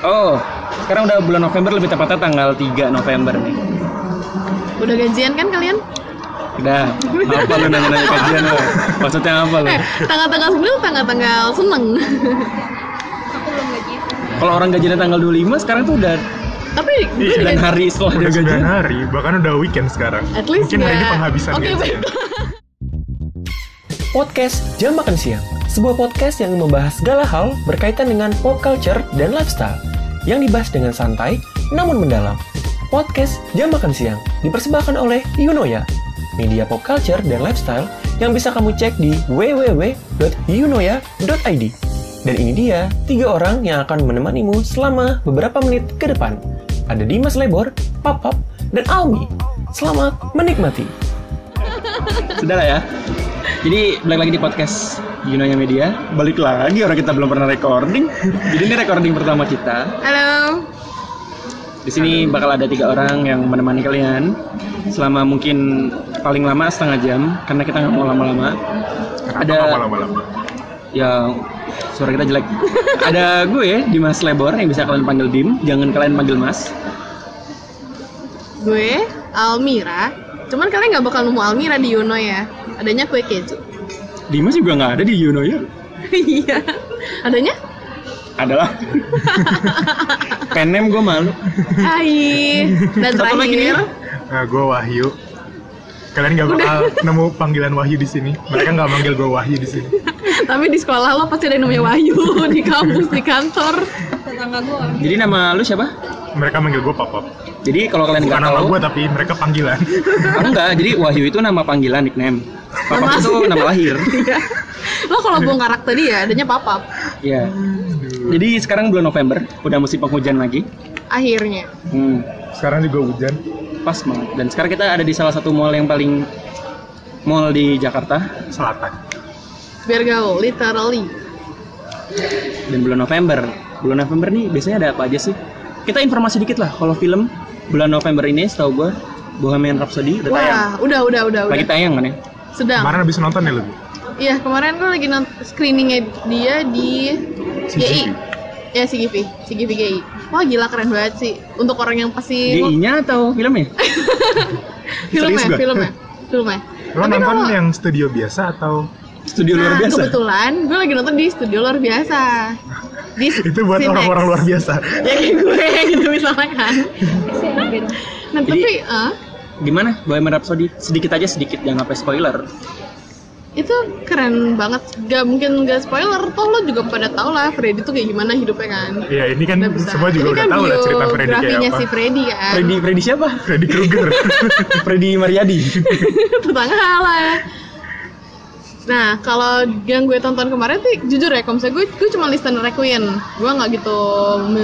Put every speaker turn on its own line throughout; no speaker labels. Oh, sekarang udah bulan November lebih tepatnya tanggal 3 November nih.
Udah gajian kan kalian?
Iya. Udah, apa lu nanya-nanya kajian lu? Maksudnya apa lu?
Eh, tanggal-tanggal sebelum tanggal-tanggal seneng.
Aku belum gajian.
Kalau orang gajinya tanggal 25 sekarang tuh udah
Tapi gue
Iya, dan
juga
hari setelah dia
Udah
gajian.
9 hari, bahkan udah weekend sekarang.
at least
Mungkin hari ini
nggak-
penghabisan ya.
Oke,
gajian.
baik.
Podcast Jam Makan Siang, sebuah podcast yang membahas segala hal berkaitan dengan pop culture dan lifestyle, yang dibahas dengan santai namun mendalam. Podcast Jam Makan Siang dipersembahkan oleh Yunoya, media pop culture dan lifestyle yang bisa kamu cek di www.yunoya.id. Dan ini dia, tiga orang yang akan menemanimu selama beberapa menit ke depan. Ada Dimas Lebor, Papap, dan Almi. Selamat menikmati.
Sudah lah ya. Jadi balik lagi di podcast Yunanya Media. Balik lagi orang kita belum pernah recording. Jadi ini recording pertama kita.
Halo.
Di sini bakal ada tiga orang yang menemani kalian selama mungkin paling lama setengah jam karena kita nggak mau lama-lama.
Kenapa
Ada-
kamu lama-lama?
Ya suara kita jelek. ada gue Dimas Lebor yang bisa kalian panggil Dim, jangan kalian panggil Mas.
Gue Almira. Cuman kalian nggak bakal nemu Almira di Yuno ya. Adanya kue keju.
Dimas juga nggak ada di Yuno ya.
Iya. Adanya?
Adalah. Penem gue malu.
Hai. Dan
Satu lagi nih,
terakhir.
Ra.
Nah, gue Wahyu. Kalian gak bakal nemu panggilan Wahyu di sini. Mereka gak manggil gue Wahyu di sini.
Tapi di sekolah lo pasti ada yang namanya Wahyu di kampus, di kantor.
Tetangga gue.
Jadi nama lu siapa?
Mereka manggil gue Papap.
Jadi kalau kalian
Bukan
Kan nggak
nama
tahu,
gue tapi mereka panggilan.
Oh, enggak, jadi Wahyu itu nama panggilan nickname. Papa itu nama lahir.
Iya. Lo kalau bongkar karakter dia, ya, adanya papap.
Iya. Jadi sekarang bulan November, udah musim penghujan lagi.
Akhirnya.
Hmm,
Sekarang juga hujan.
pas banget. Dan sekarang kita ada di salah satu mall yang paling mall di Jakarta
Selatan.
Nah. Biar gaul, literally.
dan bulan November. Bulan November nih biasanya ada apa aja sih? Kita informasi dikit lah kalau film bulan November ini setahu gua Bohemian Rhapsody udah tayang.
Wah, udah, udah, udah, udah.
Lagi tayang kan ya?
Sedang.
Kemarin habis nonton ya lu?
Iya, kemarin gue lagi nonton screeningnya dia di GI.
CGV.
Ya, CGV. CGV GI. Wah, gila keren banget sih. Untuk orang yang
Iya.
pasti...
GI-nya atau filmnya?
filmnya,
serius gak?
filmnya. Filmnya.
Lo
Tapi
nonton
kalau-
yang studio biasa atau
Studio luar
nah,
biasa.
kebetulan gue lagi nonton di studio luar biasa. Di
itu buat
Cinex.
orang-orang luar biasa?
Ya kayak gue gitu misalnya kan.
Kesian.
Nah,
Jadi-
tapi eh,
Gimana Bohemian Rhapsody? Sedikit aja sedikit jangan sampai spoiler.
itu keren banget. Gak mungkin gak spoiler, toh lo juga pada tau lah Freddy tuh kayak gimana hidupnya kan.
Ya ini kan
Udah besar.
semua juga
Ini
udah
kan
tahu lah cerita Freddy kayak
biografinya
apa.
si Freddy kan.
Freddy Freddy siapa?
Freddy Krueger.
Freddy Mariadi.
Tetangga lah. ya. Nah, kalau yang gue tonton kemarin sih jujur ya, kalau misalnya gue, gue cuma listener Requiem. Gue nggak gitu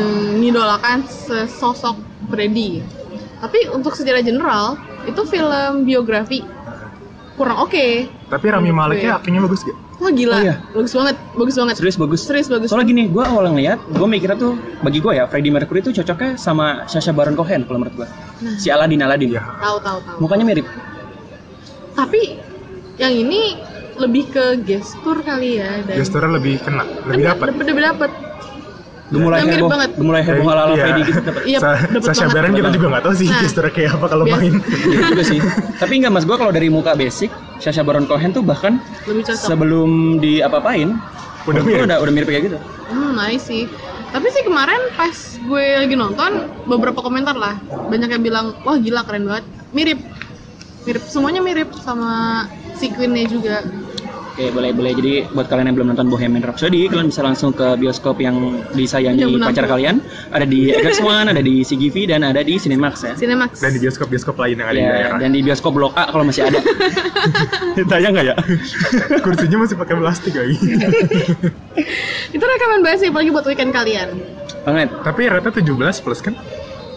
mengidolakan sesosok Freddy. Tapi untuk secara general, itu film biografi kurang oke.
Tapi Rami
Iya.
Maleknya aktingnya bagus gak?
Wah gila,
Oh, iya.
bagus banget, bagus banget.
Serius bagus.
Serius bagus.
Soalnya gini, gue awal ngeliat, gue mikirnya tuh bagi gue ya, Freddie Mercury tuh cocoknya sama Sacha Baron Cohen kalau menurut gue.
Nah.
Si Aladin Aladin.
Iya.
Tahu tahu tahu.
Mukanya mirip.
Tapi yang ini lebih ke gestur kali ya dan Kan
Gesturnya lebih kena, lebih dapat.
Lebih dapat.
Gemulai
Yang Nah, mirip
heboh,
banget.
gemulai heboh ala ala
Iya.
Freddie gitu. dapet.
Iya,
Sa-
dapet
Sasha
banget.
Baron kita juga nggak tahu sih
Nah.
gesturnya kayak apa kalau
Biasa.
main.
Iya juga sih. Tapi enggak mas, gue kalau dari muka basic, Sacha Baron Cohen tuh bahkan
Lebih cocok.
sebelum di apa-apain, menurut
Udah
gua
mirip.
udah, udah mirip kayak gitu.
Hmm, nice sih. Tapi sih kemarin pas gue lagi nonton beberapa komentar lah, banyak yang bilang, "Wah, gila keren banget." Mirip. Mirip semuanya mirip sama si Queen-nya juga.
Oke boleh boleh. Jadi buat kalian yang belum nonton Bohemian Rhapsody, kalian bisa langsung ke bioskop yang disayangi
Yang menang.
pacar kalian. Ada di X1, ada di CGV, dan ada di Cinemax ya.
Cinemax.
Dan di bioskop-bioskop lain yang ada
Iya,
di
Ya,
daerah.
dan di bioskop Blok A kalau masih ada. Tayang nggak ya?
Kursinya masih pakai plastik lagi.
Iya. Itu rekaman banget sih apalagi buat weekend kalian.
Banget.
Tapi rata 17 plus kan?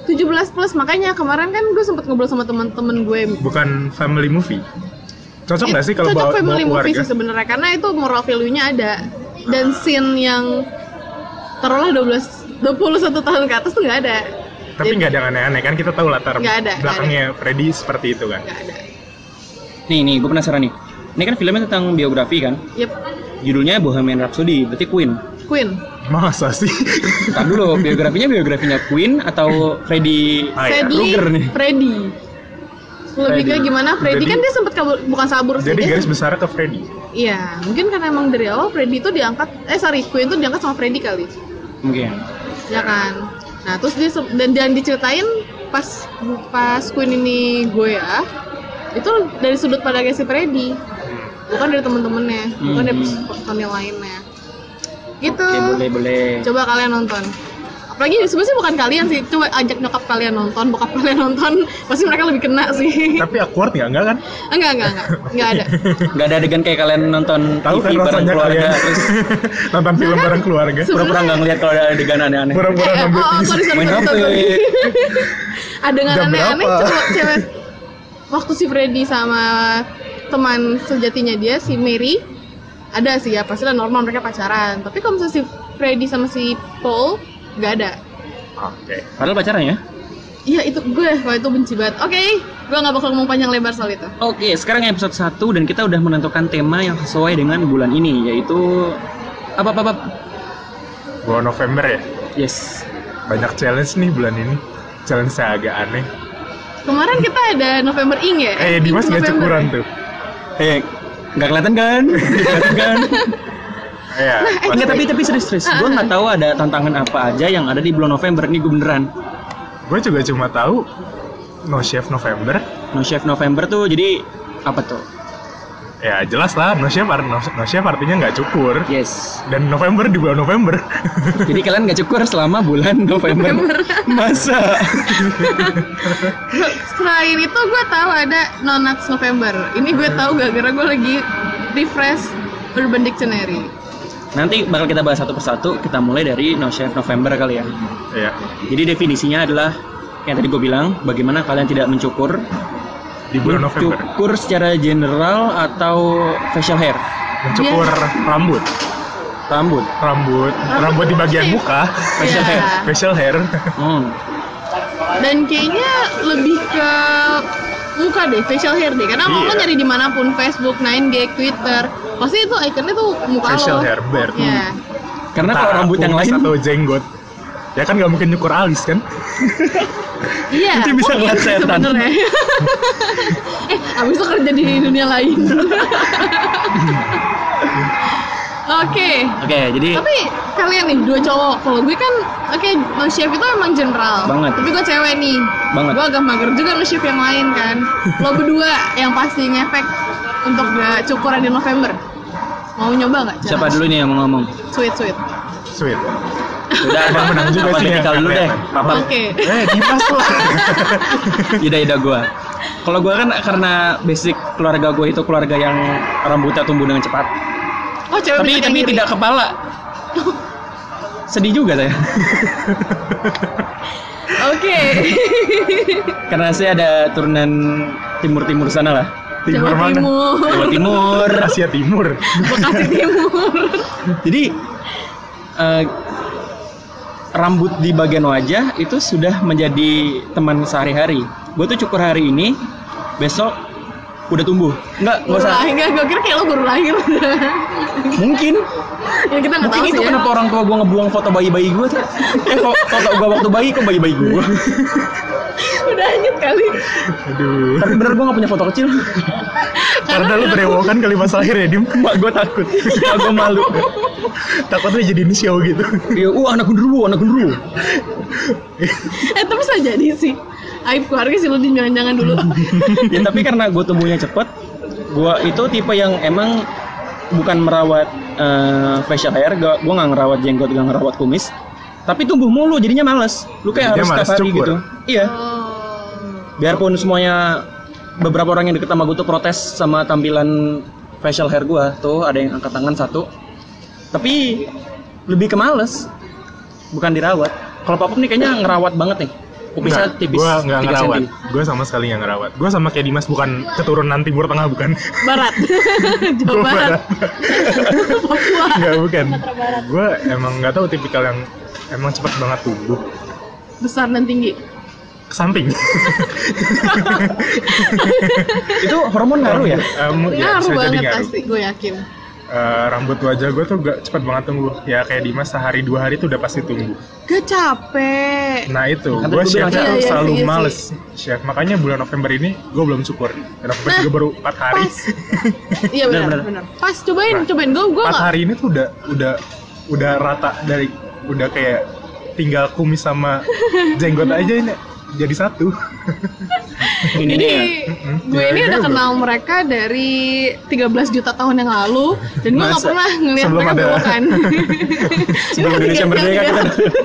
17 plus makanya kemarin kan gue sempet ngobrol sama teman-teman gue.
Bukan family movie. Cocok nggak sih kalau
Iya, Cocok
bawa, bawa
family movie
keluarga?
sih sebenarnya karena itu moral value-nya ada dan scene yang taruhlah 12 21 tahun ke atas tuh nggak ada.
Tapi nggak ada yang aneh-aneh kan kita tahu latar
Nggak ada,
belakangnya Freddy seperti itu kan.
Nggak ada.
Nih nih, gue penasaran nih. Ini kan filmnya tentang biografi kan.
Yep.
Judulnya Bohemian Rhapsody, berarti Queen.
Queen.
Masa sih?
Bentar dulu, biografinya biografinya Queen atau Freddy
Ah, iya.
Freddy,
Krueger nih.
Freddy. Lebih
Freddy.
kayak gimana? Freddy
Jadi-
kan dia sempat kabur, bukan sabur sih.
Jadi
dia
garis besar ke Freddy.
Iya, mungkin karena emang dari awal Freddy itu diangkat, eh sorry, Queen itu diangkat sama Freddy kali,
mungkin.
ya kan? Nah terus dia se- dan dan diceritain pas pas Queen ini gue ya, itu dari sudut pandangnya si Freddy, bukan dari temen-temennya, bukan dari
Hmm.
personil lainnya. Gitu.
Oke, Ya, boleh boleh.
Coba kalian nonton. Apalagi sebenarnya bukan kalian sih, coba ajak nyokap kalian nonton, bokap kalian nonton, pasti mereka lebih kena sih.
Tapi awkward nggak? Nggak kan?
enggak, enggak, enggak. Enggak ada.
Gak ada adegan kayak kalian nonton
Tahu kan
Iya,
TV bareng
rasanya
keluarga
kalian
terus
nonton film
Nggak kan?
bareng keluarga.
Sebenarnya-
pura-pura nggak ngeliat kalau ada adegan aneh-aneh.
Pura-pura
Eh, eh,
ngambil
oh, oh,
tisu.
sorry, sorry,
Main
sorry,
HP.
sorry. Adegan
Jam
aneh-aneh
berapa?
cuma cewek. Waktu si Freddy sama teman sejatinya dia si Mary ada sih ya pasti lah normal mereka pacaran. Tapi kalau misalnya si Freddy sama si Paul nggak ada.
Oke.
Padahal pacaran ya.
Iya itu gue kalau itu benci banget. Oke, gue nggak bakal ngomong panjang lebar soal itu.
Oke, sekarang episode 1 dan kita udah menentukan tema yang sesuai dengan bulan ini yaitu apa apa apa.
Bulan November ya.
Yes.
Banyak challenge nih bulan ini. Challenge saya agak aneh.
Kemarin kita ada November Ing ya.
Eh, Dimas
Ing November.
nggak
ya?
cukuran tuh.
Eh, nggak kelihatan kan? Nggak kelihatan kan?
Iya.
eh,
Enggak, tapi tapi serius-serius. Gue nggak tahu ada tantangan apa aja yang ada di bulan November ini gue beneran.
Gue juga cuma tahu No Chef November.
No Chef November tuh jadi apa tuh?
Ya jelas lah, No Chef, ar- no, no chef artinya nggak cukur.
Yes.
Dan November di bulan November.
Jadi kalian nggak cukur selama bulan November. Masa?
Selain itu gue tahu ada Nonuts November. Ini
Iya.
gue tahu gara-gara gue lagi refresh Urban Dictionary.
Nanti bakal kita bahas satu persatu. Kita mulai dari No Chef November kali ya.
Iya.
Jadi definisinya adalah yang tadi gue bilang, bagaimana kalian tidak mencukur,
Di bulan November.
mencukur secara general atau facial hair,
Mencukur rambut.
rambut.
Rambut. Rambut di bagian
shave.
muka.
Facial hair.
Iya.
Facial hair.
Hmm.
Dan kayaknya lebih ke muka deh, facial hair deh. Karena mau lo
Iya.
nyari dimanapun, Facebook, 9gag, Twitter, pasti itu ikonnya tuh muka
Facial
lo.
hair, Hmm. beard.
Iya.
Karena
Entah
kalau rambut yang
kumis
lain
Atau jenggot. Ya kan nggak mungkin nyukur alis kan?
Iya.
Nanti bisa
mungkin
ngeliat setan.
sebenarnya. eh, abis itu kerja di dunia lain. Oke.
Oke, jadi
Tapi kalian nih dua cowok, kalau gue kan oke no chef itu emang general.
Banget.
Tapi gue cewek nih.
Banget.
Gue agak mager juga no chef yang lain kan. Lo berdua yang pasti ngefek untuk gak cukuran di November. Mau nyoba nggak?
siapa
Challenge?
dulu nih yang mau ngomong?
Sweet sweet.
Sweet.
Udah, Abang
menang juga sih yang
Kalau dulu deh,
kelihatan.
Papa.
Oke.
Eh, Dimas lah.
Ida Ida gua. Kalau gua kan karena basic keluarga gua itu keluarga yang rambutnya tumbuh dengan cepat.
Oh cewek
Tapi
bisa
tapi
kayak gini.
tidak kepala. Sedih juga saya.
Oke.
Karena saya ada turunan timur-timur sana lah.
Timur
Jawa
mana?
Timur.
Jawa Timur.
Asia Timur.
Bekasi Timur.
Jadi eh, rambut di bagian wajah itu sudah menjadi teman sehari-hari. Gue tuh cukur hari ini, besok udah tumbuh. Enggak, nggak
Baru
usah.
lahir nggak? Gue kira kayak lo baru lahir.
Mungkin,
ya kita nggak
mungkin
tahu
itu
sih.
kenapa orang tua gue ngebuang foto bayi-bayi gue tuh. Eh, fo- foto gue waktu bayi ke bayi-bayi gue.
Ya. Udah hanyut kali.
Aduh.
Tapi bener gue gak punya foto kecil.
Karena lu berewokan kali pas lahir ya, Dim.
Mak gue takut, mak gue malu.
Takutnya jadiin show gitu.
Dia, uh anak gundruwo, anak gundruwo.
Eh tapi bisa jadi sih. Aib keluarga sih lo jangan-jangan dulu.
ya tapi karena gue tumbuhnya cepet gue itu tipe yang emang bukan merawat eh, facial hair gue nggak ngerawat jenggot gak ngerawat kumis tapi tumbuh mulu jadinya males lu kayak
Jadinya
harus
males
setiap hari
cukur.
gitu iya
Oh.
biarpun semuanya beberapa orang yang deket sama gue tuh protes sama tampilan facial hair gue tuh ada yang angkat tangan satu tapi lebih ke males bukan dirawat kalau papa nih kayaknya ngerawat banget nih kumisnya
Nggak,
tipis
Gua nggak
3
ngerawat.
cm.
Gua sama sekali nggak ngerawat. Gua sama kayak Dimas bukan keturunan Timur Tengah bukan.
Barat. Jawa
Gua
Barat. Papua.
Nggak bukan. Gua emang nggak tahu tipikal yang emang cepat banget tumbuh
Besar dan tinggi.
ke samping.
itu hormon ngaruh ya
Em, ya,
Ngaruh ya?
bisa jadi
banget
ya, ngaruh.
pasti, gue yakin.
eh, rambut wajah gue tuh gak cepat banget tumbuh ya kayak Dimas sehari dua hari tuh udah pasti tumbuh
Gak capek.
nah itu
Kan tadi
gue
gua
chef
bilang
tuh
capek. Iya, iya
selalu
sih, iya
males chef makanya bulan November ini gue belum cukur Dan November
Nah,
juga baru 4 hari
Pas. Iya benar,
Benar, benar.
benar. Pas cobain,
Nah.
cobain. Gue gue
4
nggak.
hari ini tuh udah udah udah rata dari udah kayak tinggal kumis sama jenggot
Nah.
aja ini jadi satu
Ini
Jadi
ya.
gue
Mm-mm.
ini
Iya,
udah
iya,
kenal mereka dari 13 juta tahun yang lalu dan gue nggak
Masa?
pernah ngelihat
Sebelum
mereka
ada-
belokan.
Sebelum
Yang
Indonesia
tiga-
merdeka
yang
kita
tiga-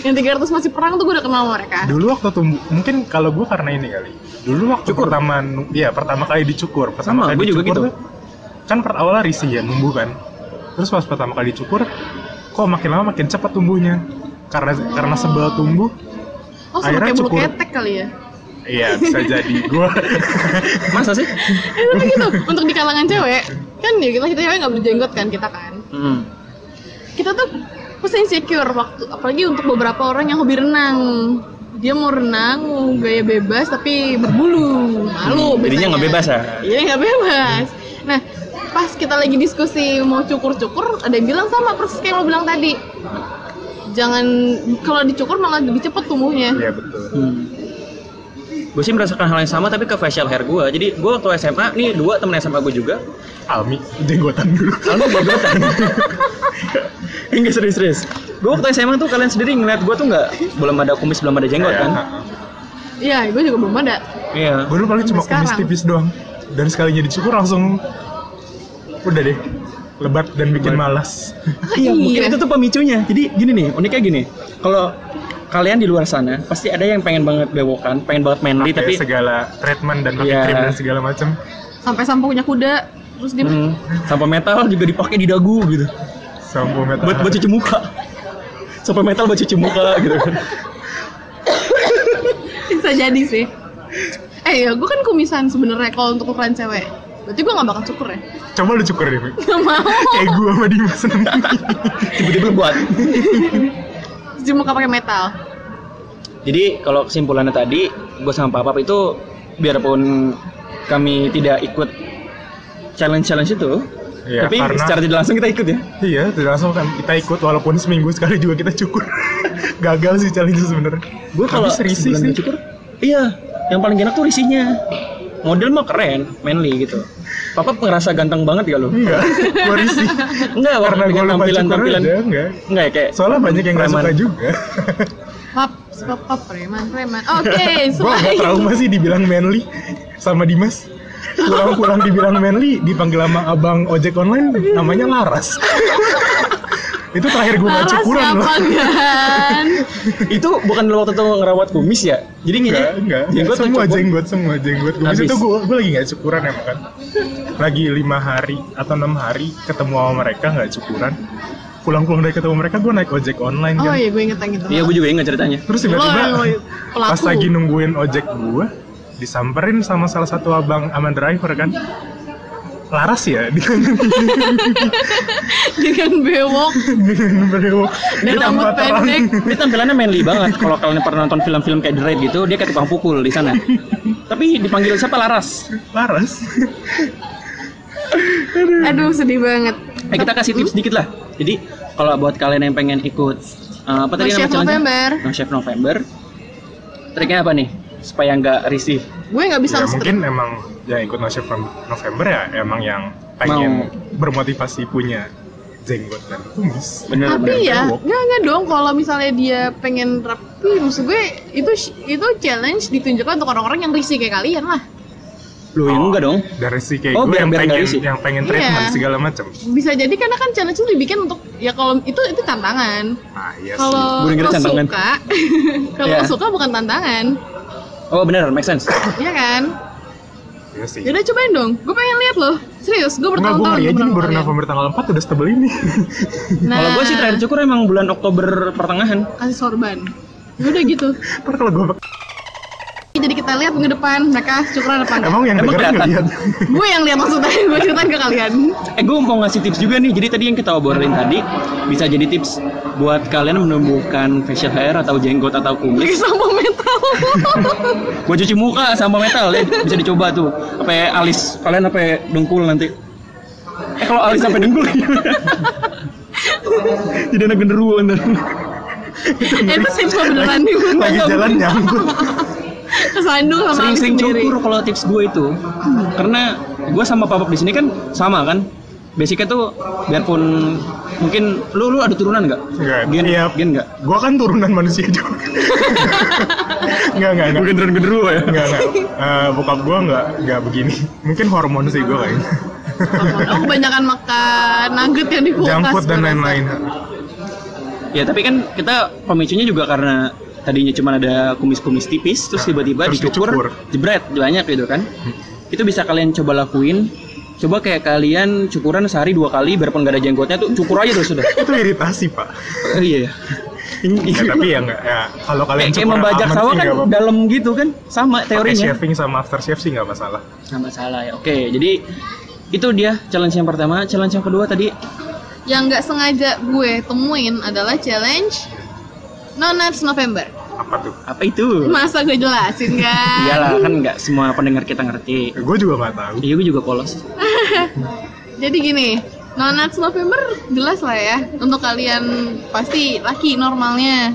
Yang 300 masih perang tuh gue udah kenal mereka.
dulu waktu tumbuh mungkin kalau gue karena ini kali dulu waktu
Cukur.
pertama nu- iya pertama kali dicukur
Sama,
pertama kali
gua juga
dicukur
gitu.
tuh, kan per awalnya risih ya numbuh kan terus pas pertama kali dicukur kok makin lama makin cepat tumbuhnya karena karena sebel tumbuh
Oh sama
akhirnya
kayak bulu
cukur.
ketek kali ya.
iya bisa jadi gue
Masa sih?
Eh, tapi gitu untuk di kalangan cewek kan ya kita kita cewek nggak berjenggot kan kita kan.
Hmm.
Kita tuh pasti insecure waktu apalagi untuk beberapa orang yang hobi renang. Dia mau renang, mau gaya bebas tapi berbulu. Malu
Hmm, jadinya
biasanya.
nggak bebas ya?
Iya nggak bebas. Nah, pas kita lagi diskusi mau cukur-cukur, ada yang bilang sama persis kayak yang lo bilang tadi. Jangan kalau dicukur malah lebih cepet tumbuhnya.
iya betul
Hmm. Gue sih merasakan hal yang sama tapi ke facial hair gue. Jadi gue waktu SMA, nih dua temen SMA gue juga.
almi jenggotan dulu
Kalau gue gotan. Enggak serius-serius. Gue waktu SMA tuh kalian sendiri ngeliat gue tuh nggak belum ada kumis, belum ada jenggot kan?
Iya, gue juga belum ada.
Iya.
gue dulu paling cuma
Sampai
kumis
sekarang.
tipis doang dan sekalinya dicukur langsung udah deh lebat dan bikin
Lebat.
malas
Iya, mungkin
Iya.
itu tuh pemicunya. Jadi gini nih, uniknya gini. Kalau kalian di luar sana pasti ada yang pengen banget bewokan, pengen banget manly
Pakai
tapi
segala treatment dan pakai
Iya.
krim dan segala macam
Sampai sampo punya kuda, terus dia
hmm, sampo metal juga dipakai di dagu gitu.
sampo metal
Buat buat cuci muka. Sampo metal buat cuci muka gitu kan.
bisa jadi sih. Eh ya, gue kan kumisan sebenarnya kalau untuk ukuran cewek. Berarti gue gak bakal cukur ya?
coba lu cukur deh Mi.
Gak mau.
kayak gue sama Dimas nanti
Tiba-tiba buat.
Cuci muka pakai metal.
Jadi kalau kesimpulannya tadi, gue sama Papa itu biarpun kami tidak ikut challenge-challenge itu,
Iya,
tapi
karena-
secara tidak langsung kita ikut ya.
iya tidak langsung kan kita ikut walaupun seminggu sekali juga kita cukur gagal sih challenge sebenarnya
Gue
Tapi
kalau
serisi
sebulan
sih
gak cukur, iya, yang paling enak tuh risinya. Model mah keren, manly gitu. Papa ngerasa ganteng banget ya lo?
enggak gue risih
Enggak,
karena gue lupa
tampilan
cukur
tampilan.
aja enggak
Enggak ya kayak
soalnya banyak yang nggak
preman.
suka juga
Pap, pap, pap, preman, preman. Oke,
gue agak
selain
trauma sih dibilang manly sama Dimas pulang-pulang dibilang manly dipanggil sama abang ojek online namanya Laras itu terakhir gue
Laras
cukuran loh
siapa kan?
itu bukan lo waktu itu ngerawat kumis ya? Jadi kayaknya
Enggak, enggak.
jenggot tuh
semua
cukup.
jenggot, semua jenggot. Gue
Habis.
itu gue gue lagi nggak cukuran emang kan. Lagi lima hari atau enam hari ketemu sama mereka nggak cukuran. Pulang-pulang dari ketemu mereka gue naik ojek online kan.
Oh iya, gue inget yang itu.
Iya, gue juga ingat ceritanya.
Terus
Lo
tiba-tiba
yang pelaku.
pas lagi nungguin ojek gue disamperin sama salah satu abang aman driver kan. Laras ya dengan
dengan bewok
dengan berewok
dan
Dia
rambut
tanpa terang.
pendek.
Dia tampilannya manly banget. Kalau kalian pernah nonton film-film kayak The Raid gitu, dia kayak tukang pukul di sana. Tapi dipanggil siapa Laras?
Laras.
Aduh, sedih banget.
Eh kita kasih tips sedikit lah. Jadi kalau buat kalian yang pengen ikut eh, apa tadi
No
nama
Shave
challenge-nya?
November.
No Shave November. Triknya apa nih? Supaya nggak risih.
Gue nggak bisa
ya
nge-strip.
mungkin emang yang ikut Noship November ya emang yang pengen
Mau.
bermotivasi punya jenggot dan kumis
Bener bener.
Tapi ya,
bewok.
nggak nggak dong. Kalau misalnya dia pengen rapi, maksud gue itu itu challenge ditunjukkan untuk orang-orang yang risih kayak kalian lah.
Lu yang enggak dong?
dari si kayak
Oh,
gue
biar-
yang
biar
pengen
nggak risih.
yang pengen
Iya.
treatment segala macam
Bisa jadi karena kan challenge itu dibikin untuk ya kalau itu itu tantangan.
nah iya sih
Kalau
Gue denger
lo
tantangan.
suka, kalau
Iya.
lo suka bukan tantangan,
Oh bener, make sense.
Iya kan?
iya sih
Yaudah cobain dong. Gue pengen lihat loh. Serius, gue
Enggak, gue
bertahun-tahun. gua
ngeri
belum
aja nih baru
ngeliat.
November tanggal 4 udah setebel ini
Nah,
Kalau gue sih terakhir cukur emang bulan Oktober pertengahan.
kasih sorban. Yaudah gitu.
Ntar kalau gue
Jadi kita lihat minggu depan mereka syukuran apa enggak.
Emang yang
Emang
dengerin nggak
kelihatan?
lihat
gue yang lihat maksudnya, gue ceritain ke kalian.
Eh gue mau ngasih tips juga nih. Jadi tadi yang kita obrolin tadi bisa jadi tips buat kalian menumbuhkan facial hair atau jenggot atau kumis.
Lagi sama metal.
Buat cuci muka sama metal ya bisa dicoba tuh. Apa ya, alis kalian apa ya, dengkul nanti. Eh kalau alis sampai dengkul gimana? Jadi anak genderuwo ntar.
Eh, pasti cuma beneran nih gua
lagi
tahu.
jalan nyangkut
Kesandung sama alis
Sering-sering
sendiri.
cukur kalau tips gue itu. Karena gue sama papap di sini kan sama kan. Basicnya tuh biarpun mungkin lu lu ada turunan nggak?
Nggak.
Gen,
Iya.
gen nggak?
gue kan turunan manusia juga nggak nggak nggak
Gue genderuwo genderuwo ya.
nggak nggak Eh, bokap gue nggak nggak begini mungkin hormon sih gue kayaknya
Aku kebanyakan makan nugget yang di kulkas.
junk food dan
gua rasa.
lain-lain
Ya tapi kan kita pemicunya juga karena tadinya cuma ada kumis-kumis tipis terus tiba-tiba
Nah, Terus dicukur. Hmm.
dicukur, jebret banyak gitu kan. Itu bisa kalian coba lakuin. Coba kayak kalian cukuran sehari dua kali biarpun gak ada jenggotnya tuh cukur aja terus sudah.
itu iritasi pak
Oh, iya ya. Ini
ya, tapi ya nggak ya kalau
kayak,
kalian
kayak
cukuran
membajak
aman
sawah
sih
kan
nggak apa-apa.
dalam gitu kan sama
Pakai
teorinya.
shaving sama after shave sih nggak masalah
Sama salah ya. Oke, jadi itu dia challenge yang pertama, challenge yang kedua tadi
Yang nggak sengaja gue temuin adalah challenge No Nuts November.
apa tuh
apa itu?
Masa gue jelasin kan?
Iyalah kan nggak semua pendengar kita ngerti.
gue juga nggak tahu
Iya, gue juga polos.
Jadi gini, No Nuts November jelas lah ya. Untuk kalian pasti laki normalnya.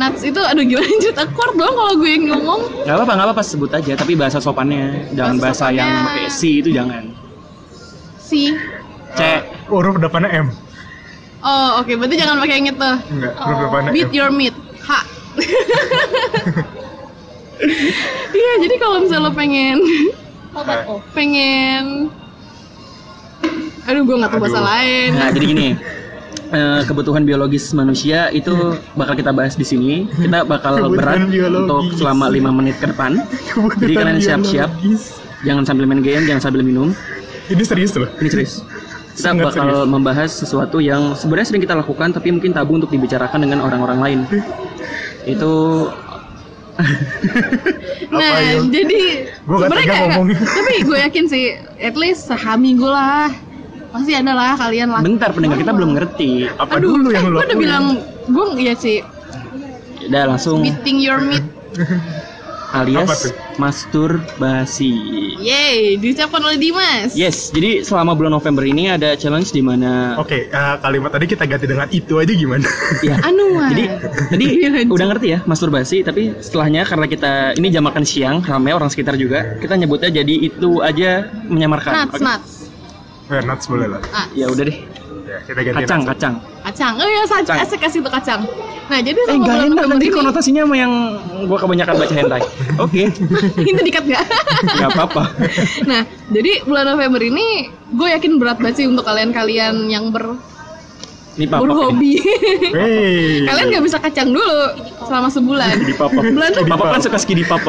Nuts itu aduh gimana lanjut akur dong kalau gue ngomong.
Gak apa-apa, gak apa-apa sebut aja, tapi bahasa sopannya Jangan bahasa,
Bahasa
yang
sopannya.
pakai si itu jangan
Si.
C
Eh, huruf depannya M
Oh, oke. Berarti jangan pakai yang itu.
enggak huruf depannya M
Oh, Beat your meat. H. Iya, jadi kalau misalnya lo pengen
Obat oh.
pengen Aduh, gue gak tau bahasa
Aduh.
lain.
Nah jadi gini eh, kebutuhan biologis manusia itu bakal kita bahas di sini. Kita bakal berat
Kebutuhan biologis.
untuk selama 5 menit ke depan.
Kebutuhan
Jadi kalian siap-siap,
biologis.
jangan sambil main game, jangan sambil minum.
ini serius loh
Ini serius. Kita
Sangat
bakal
serius.
membahas sesuatu yang sebenarnya sering kita lakukan tapi mungkin tabu untuk dibicarakan dengan orang-orang lain. Itu
Nah,
Apa yuk?
jadi
Gua nggak
sebenarnya
tega
kayak-
ngomongnya.
tapi gue yakin sih, at least seminggu lah pasti ada lah kalian lah.
bentar pendengar kita belum ngerti.
apa
Aduh,
dulu
eh,
yang
gue
lo
udah
lakuin?
bilang gue ya sih
Udah langsung
beating your meat.
alias
Apa tuh?
masturbasi.
Yeay, diucapkan oleh Dimas.
Yes, jadi selama bulan November ini ada challenge di mana
Oke, eh, kalimat tadi kita ganti dengan itu aja gimana?
ya.
Anuan.
Jadi tadi
Iya, lanjut.
udah ngerti ya masturbasi, tapi setelahnya karena kita ini jam makan siang, ramai orang sekitar juga, kita nyebutnya jadi itu aja menyamarkan. kan?
nuts,
Oke.
nuts.
Eh, nuts boleh lah.
Ah,
Ya udah deh,
Ya, kita ganti
kacang
nuts.
kacang.
kacang. Oh iya, sa-
Kacang.
asik asik tuh kacang. Nah, jadi
Eh
sama
nggak
bulan
enak
November
nanti
ini-
konotasinya sama yang gua kebanyakan baca hentai. Oke,
Ini dikat nggak?
nggak apa-apa.
nah, jadi bulan November ini gue yakin berat banget sih untuk kalian-kalian yang ber
Ini ya. papa.
berhobi.
Hey.
kalian nggak bisa kacang dulu selama sebulan.
Di papa.
Bulan tuh
Papa kan suka skidi papa.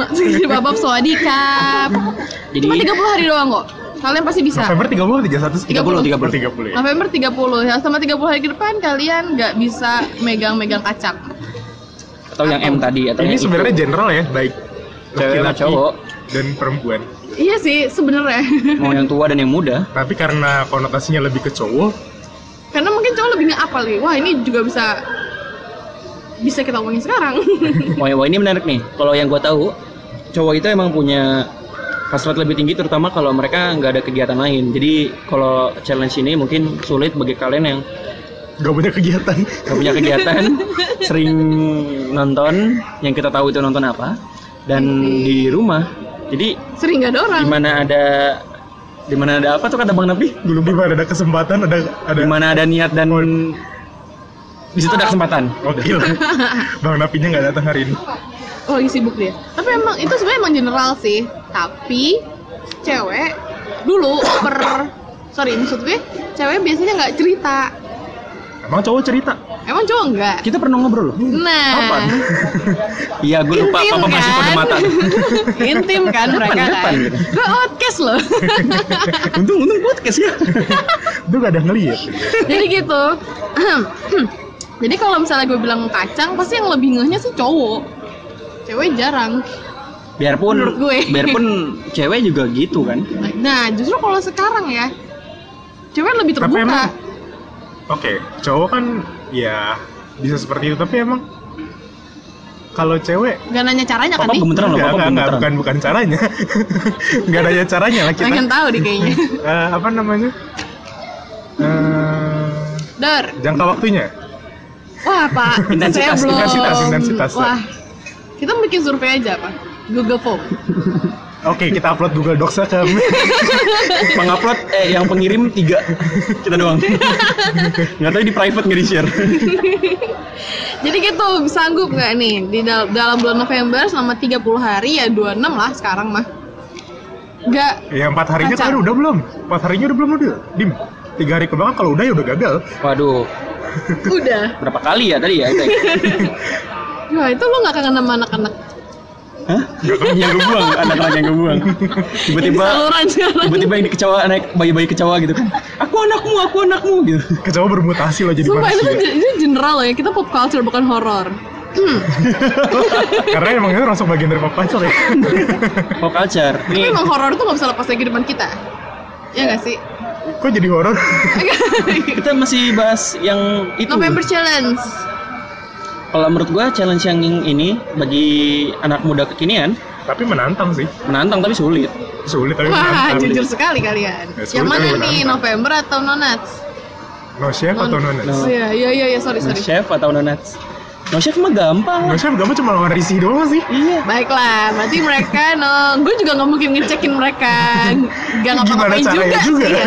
Maksudnya babab soadikap.
Jadi
Cuma 30 hari doang kok. Kalian pasti bisa.
November 30 31 sih?
30 30.
30 30 ya.
November 30 ya, sama 30 hari ke depan kalian nggak bisa megang-megang kacang.
atau yang M tadi atau
Ini
yang itu.
sebenarnya general ya, baik
Cewek sama cowok.
dan perempuan.
Iya sih sebenarnya.
mau yang tua dan yang muda.
Tapi karena konotasinya lebih ke cowok,
Karena mungkin cowok lebih nge-apa nih. Wah, ini juga bisa bisa kita omongin sekarang.
Wah, wah, ini menarik nih. Kalau yang gue tahu, cowok itu emang punya hasrat lebih tinggi terutama kalau mereka nggak ada kegiatan lain. Jadi kalau challenge ini mungkin sulit bagi kalian yang
gak punya kegiatan.
nggak punya kegiatan, sering nonton, yang kita tahu itu nonton apa, dan di rumah. Jadi
Sering nggak ada orang.
di mana ada di mana ada apa tuh kata Bang Nabi?
Belum gimana ada kesempatan, ada ada
Di mana ada niat dan di situ ada kesempatan.
Oh gila. Bang Napinya nggak datang hari ini.
Oh, lagi sibuk dia. Tapi emang itu sebenarnya emang general sih. Tapi cewek dulu per sorry maksud gue cewek biasanya nggak cerita
Emang cowok cerita?
emang cowok nggak
Kita pernah ngobrol loh.
nah
Kapan?
Iya, gue lupa
Intim kan?
apa masih kode mata.
Intim kan mereka
Kapan,
kan.
kapan?
Gue outcast loh.
untung untung podcast ya.
Itu gak ada ngeliat.
Jadi gitu. Jadi kalau misalnya gue bilang kacang, pasti yang lebih ngehnya sih cowok. Cewek jarang.
biarpun
Menurut gue.
biarpun cewek juga gitu kan
Nah, justru kalau sekarang ya, cewek lebih
Tapi emang-
terbuka.
Oke, cowok kan ya bisa seperti itu, tapi emang kalau cewek
Gak nanya caranya kan
Papa
nih?
gemeteran loh,
Enggak,
Papa
enggak, enggak,
gemeteran.
bukan bukan caranya. Enggak ada ya caranya lah kita.
Pengen tahu deh kayaknya.
Eh, apa namanya? Eh,
Dor,
jangka waktunya.
wah Pak, saya
Intensitas,
belum.
intensitas, intensitas, Dor.
Wah, kita bikin survei aja Pak. Google Form.
Oke, kita upload Google Docs ke
Pengupload eh yang pengirim tiga kita doang. Nggak tahu di private nggak di share.
Jadi gitu, sanggup nggak nih di dal- dalam bulan November selama 30 hari ya 26 lah sekarang mah. Gak
Ya empat harinya
Pacar.
kan udah belum? Empat harinya udah belum udah? Dim, tiga hari kebelakang kalau udah ya udah gagal.
Waduh,
udah.
berapa kali ya tadi ya?
Wah itu lo nggak kangen sama anak-anak
Hah? kan Yang gue buang, anak-anak yang gue buang.
yang di
Tiba-tiba
saluran sekarang.
tiba-tiba ini kecewa naik bayi-bayi kecewa gitu kan. Aku anakmu, aku anakmu gitu.
Kecoba bermutasi loh jadi
Sumpah itu,
manusia.
tuh- itu general loh ya, kita pop culture bukan horor.
Karena emang itu langsung bagian dari pop culture ya.
Pop Oh, culture.
Tapi
Ini
emang horor tuh nggak bisa lepas dari kehidupan kita. Iya nggak sih?
Kok jadi horor?
kita masih bahas yang itu.
November Challenge.
Kalau menurut gua challenge yang ini bagi anak muda kekinian
tapi menantang sih.
menantang tapi sulit.
Sulit tapi
Wah,
menantang.
jujur sekali kalian.
Ya, sulit
Yang mana
tapi
nih,
menantang.
November atau Nonats?
No chef atau no nuts?
No.
Iya, iya, iya, iya, sorry,
No Nah,
sorry.
chef atau no nuts? No chef mah
No
gampang.
chef kamu cuma lawan risih doang sih.
Iya.
Baiklah, berarti mereka, no, gue juga nggak mungkin ngecekin mereka, Ya, nggak
Gimana
ngapa-ngapain juga,
caranya juga?
sih ya.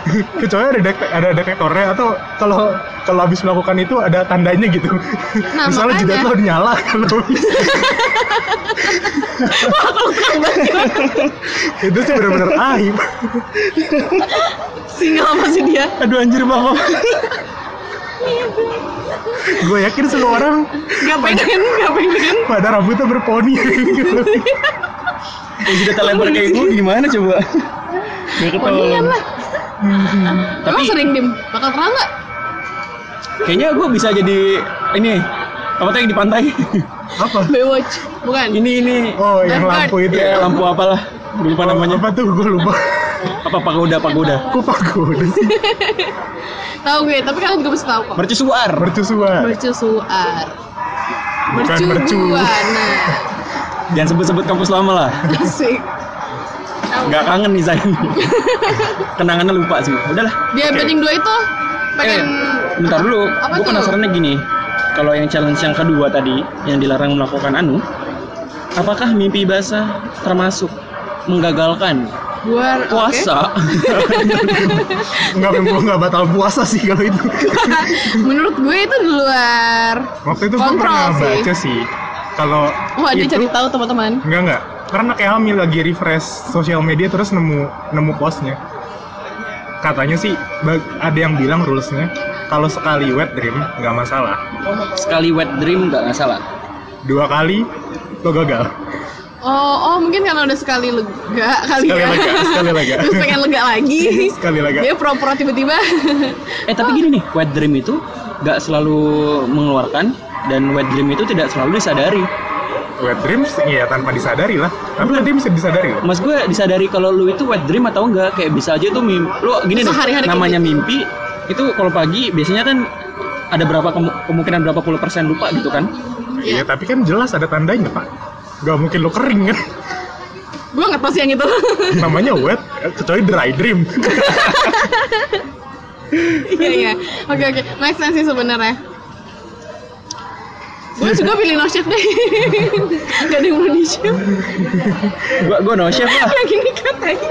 Kecuali ada dek- ada detektornya atau kalau kalau habis melakukan itu ada tandanya gitu.
Nah,
Misalnya
makanya.
jidat lo nyala kalau itu sih benar-benar aib.
Single apa sih dia?
Aduh anjir mama.
Gue yakin semua orang
Gak pengen, gak pengen.
pada rambutnya berponi.
Ya sudah telebar kayak gue gimana coba? Gak
Mendingan
ketolong.
lah.
Hmm.
Emang sering dim, bakal pernah nggak?
Kayaknya gue bisa jadi ini apa tuh yang di pantai?
apa?
Baywatch, bukan?
ini ini
Oh, yang lampu itu
ya, Oh,
ya.
lampu apalah gue lupa namanya
Apa tuh gue lupa.
apa pagoda pagoda
Kupaku.
Tahu gue, tapi kalian juga pasti tahu kok.
mercusuar
Mercusuar.
Mercusuar.
Bukan mercu.
Mercubuan. Nah,
jangan sebut-sebut kampus lama lah
asik.
nggak kangen nih saya kenangannya lupa sih udahlah
Di Abading 2 itu pengen
eh bentar dulu
Apa
gue
tuh?
penasarannya gini kalau yang challenge yang kedua tadi yang dilarang melakukan anu apakah mimpi basah termasuk menggagalkan
buat
puasa
Enggak gue enggak batal puasa sih kalau itu.
Menurut gue itu di luar.
Waktu itu gue
Kontrol
pernah
sih.
baca sih kalau
Wah, dia
itu
cari tahu teman-teman.
Enggak enggak. Karena kayak Hamil lagi refresh sosial media terus nemu nemu postnya. Katanya sih ba- ada yang bilang rulesnya kalau sekali wet dream nggak masalah.
sekali wet dream nggak masalah
Dua kali lo gagal.
Oh, oh mungkin karena udah sekali lega kali
Sekali
ya.
lega, sekali lega.
Terus pengen lega lagi.
Sekali lagi.
Dia pura-pura tiba-tiba.
eh tapi gini nih wet dream itu nggak selalu mengeluarkan dan wet dream itu tidak selalu disadari
Wet dreams ya tanpa disadari lah. Tapi nanti bisa disadari loh.
Mas gue disadari kalau lu itu wet dream atau enggak kayak bisa aja tuh mimpi lu gini deh,
Bisa hari-hari kayak gitu?
namanya mimpi itu kalau pagi biasanya kan ada berapa kemu- kemungkinan berapa puluh persen lupa gitu kan
Iya, tapi kan jelas ada tandanya, Pak. Gak mungkin lo kering kan.
gue nggak tahu sih yang itu.
Namanya wet kecuali dry dream.
Iya iya. Oke oke. Make sense sih sebenarnya. Gue juga pilih no shift deh. Gak ada yang mau di shift.
gua gua no chef lah
Yang ini kan tadi.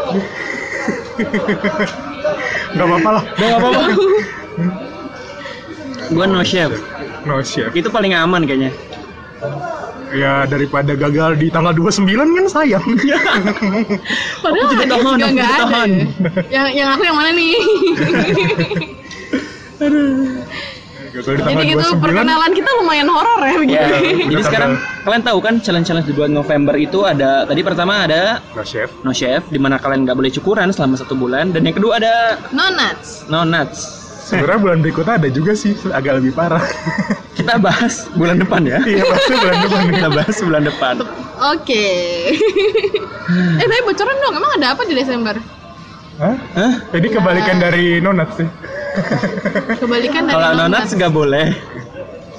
Gak apa-apa lah.
udah nggak apa-apa gua no chef
No chef.
itu paling aman kayaknya
Ya daripada gagal di tanggal 29 kan sayang.
Padahal
Aku
ada
tidak
yang
tahan,
juga
aku
nggak
tidak
ada.
tahan.
Yang yang aku yang mana nih?
Gagal di
Jadi
tanggal
gitu
29
perkenalan kita lumayan horor ya
ya
begini.
jadi
Udah
sekarang
tanggal.
kalian tahu kan challenge challenge di bulan November itu ada tadi pertama ada
No chef.
no chef di mana kalian nggak boleh cukuran selama satu bulan dan yang kedua ada
No nuts.
no nuts
Sebenarnya bulan berikutnya ada juga sih agak lebih parah.
kita bahas bulan depan ya
Iya pasti bulan depan.
kita bahas bulan depan
Oke. eh tapi bocoran dong. Emang ada apa di Desember?
Hah?
Hah?
Jadi
Ya.
kebalikan dari nonat sih.
Kebalikan dari
Kalau
no
anak-anak
nuts.
nggak boleh.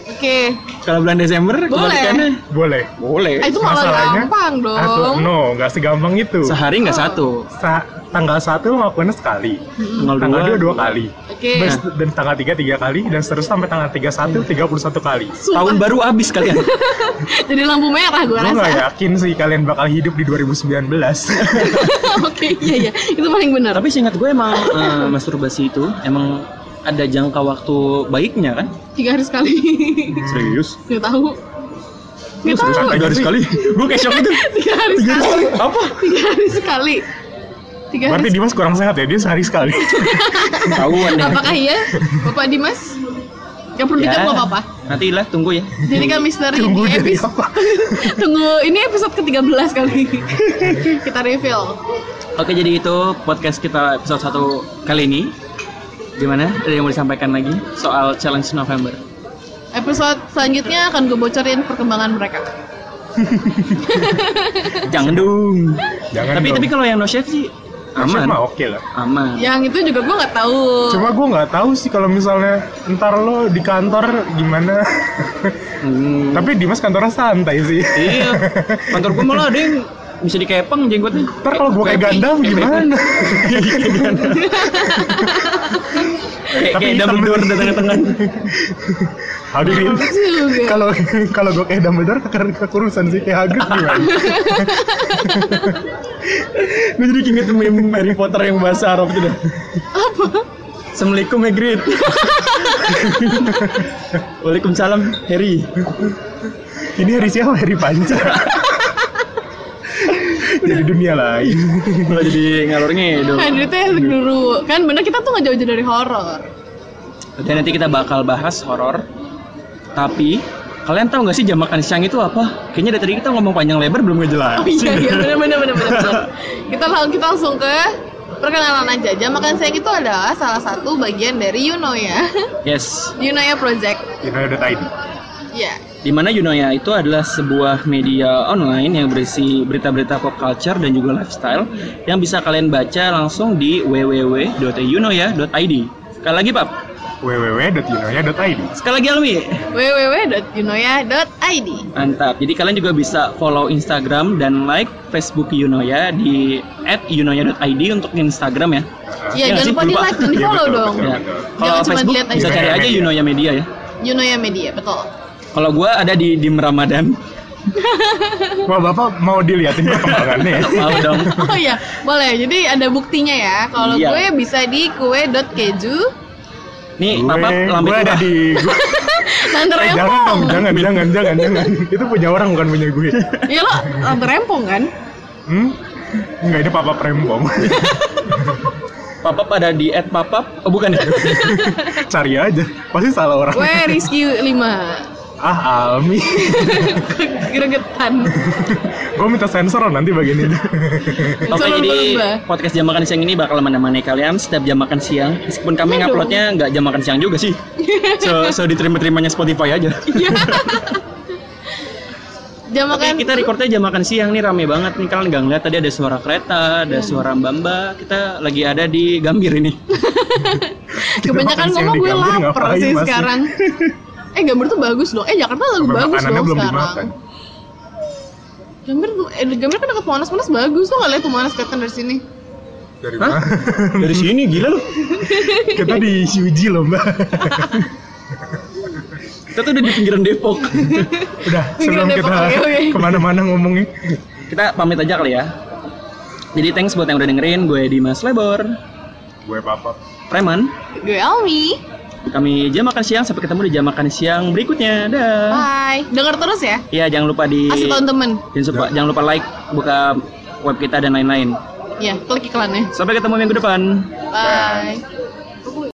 Oke. Oke.
Kalau bulan Desember kebalikannya
Boleh.
boleh.
Ah, itu malah
Masalahnya,
gampang dong.
Atau no, nggak segampang itu.
Sehari nggak satu.
Sa- tanggal 1 ngelakuinnya sekali.
Tanggal
Tanggal 2 dua
dua.
kali.
Oke.
Bes- dan tanggal 3 tiga kali dan seterusnya sampai tanggal
Iya.
31 31 kali.
Tahun baru habis kalian.
Jadi lampu merah gue
Gue
rasa.
nggak ya? yakin sih kalian bakal hidup di 2019.
Oke, iya iya. Itu paling benar.
Tapi seingat gue emang eh, masturbasi itu emang ada jangka waktu baiknya kan?
Tiga hari sekali.
Serius?
Gak tahu. Gak tahu.
seriusan?
Tiga hari sekali. Gue kayak shock gitu. itu.
Tiga hari sekali.
Apa?
Tiga hari sekali. Tiga hari
Berarti
sekali.
Dimas kurang sehat ya, dia sehari sekali.
Tahuan deh.
Apakah iya? Bapak Dimas? Gak perlu
Ya.
dijawab gak apa-apa.
Nanti lah tunggu ya.
Jadi kan misteri
Tunggu
di
jadi
episode
apa?
Tunggu, ini episode ke-13 kali Kita reveal
Oke jadi itu podcast kita episode 1 kali ini. Gimana? Ada yang mau disampaikan lagi soal challenge November?
Episode selanjutnya akan gue bocorin perkembangan mereka
Jangan dong.
Jangan
tapi
dong.
tapi kalau yang no chef sih
Maksudnya
aman.
mah oke lah.
Aman.
Yang itu juga gue gak tahu
Cuma gue nggak tahu sih kalau misalnya ntar lo di kantor gimana.
Hmm.
Tapi Dimas kantornya santai sih.
Iya. Kantor gue malah ada yang bisa dikepang jenggotnya.
Ntar kalau gue kayak Gandam gimana?
Kayak
Tapi
kayak
hitam.
Dumbledore di tengah-tengah.
Hadirin.
Juga.
Kalau kalau gue kayak Dumbledore keker- kekurusan sih kayak Hagrid gimana?
Gue jadi keinget meme Harry Potter yang bahasa Arab itu dah.
Apa?
Assalamualaikum Hagrid. Waalaikumsalam Harry.
Ini hari siapa? Hari Panca. Jadi dunia lain.
Malah jadi ngalor ngidul.
Hadritnya dulu Kan bener kita tuh gak jauh-jauh dari horor
Dan nanti kita bakal bahas horor. Tapi kalian tahu nggak sih jam makan siang itu apa? Kayaknya dari tadi kita ngomong panjang lebar belum ngejelas.
Oh iya iya bener bener bener, bener, bener. Kita, lang- kita langsung ke perkenalan aja Jam makan siang itu adalah salah satu bagian dari Yunoya
Yes.
Yunoya ya, Project
Ini udah tadi.
Ya
Dimana Yunoya itu adalah sebuah media online yang berisi berita-berita pop culture dan juga lifestyle yang bisa kalian baca langsung di www.yunoya.id. Sekali lagi, Pap.
www.inoya.id
Sekali lagi, Almi.
www.yunoya.id
Mantap. Jadi kalian juga bisa follow Instagram dan like Facebook Yunoya di @yunoya.id untuk Instagram ya.
Iya,
Iya,
jangan
sih,
lupa di
lupa.
like dan di
Iya,
follow
betul,
dong.
Ya.
betul.
Kalau
Jangan cuma
Facebook
dilihat aja.
bisa cari aja Yunoya Media ya.
Yunoya Media, betul.
Kalau gua ada di Dim Ramadan,
Wah bapak mau diliatin perkembangannya ya?
mau dong.
Oh iya, boleh. Jadi ada buktinya ya. Kalau
Iya.
gue bisa di kue.keju.
Nih,
Gue,
papa
gue
lambe kubah.
ada di gue,
Lantar
eh, jangan
rempong.
dong, jangan, jangan, jangan, jangan. Itu punya orang bukan punya gue.
Iya lo lantar rempong kan?
Hmm? Enggak, itu papa prembong.
Papa ada di @papap. Oh, bukan ya.
Cari aja, pasti salah orang.
Gue Rizky 5.
Ah, Almi.
Gregetan.
gue minta sensor loh nanti bagian ini.
Oke,
Selalu
jadi
berubah.
podcast jam makan siang ini bakal menemani kalian setiap jam makan siang. Meskipun kami
Iya dong.
nguploadnya nggak jam makan siang juga sih. So, so diterima-terimanya Spotify aja.
Iya. Jam makan.
Oke, kita recordnya jam makan siang nih rame banget nih kalian nggak ngeliat tadi ada suara kereta, ada suara mbamba. Kita lagi ada di Gambir ini.
Kebanyakan
makan siang
ngomong
di
gue
Gambir,
lapar
ngapain
sih
masih?
sekarang. Eh Gambir tuh bagus dong. Eh Jakarta lagi
Sampai
bagus
makanannya
dong
belum dimakan.
sekarang. Gambir tuh, eh Gambir kan dekat Monas, Monas bagus tuh nggak lihat tuh Monas kelihatan dari sini.
Dari
Hah?
mana?
Dari sini gila lu.
Kita di Shuji loh mbak.
Kita tuh udah di pinggiran Depok.
Udah, sebelum
Depok,
kita
oke, oke.
kemana-mana ngomongnya.
kita pamit aja kali ya. Jadi thanks buat yang udah dengerin, gue Dimas Lebor,
Gue papa.
Preman.
Gue Almi.
Kami jam makan siang, sampai ketemu di jam makan siang berikutnya. Dah.
Bye. Dengar terus ya.
Iya, jangan lupa di
Kasih tau temen.
jangan lupa, jangan lupa like, buka web kita dan lain-lain.
Ya, klik iklannya.
Sampai ketemu minggu depan.
Bye.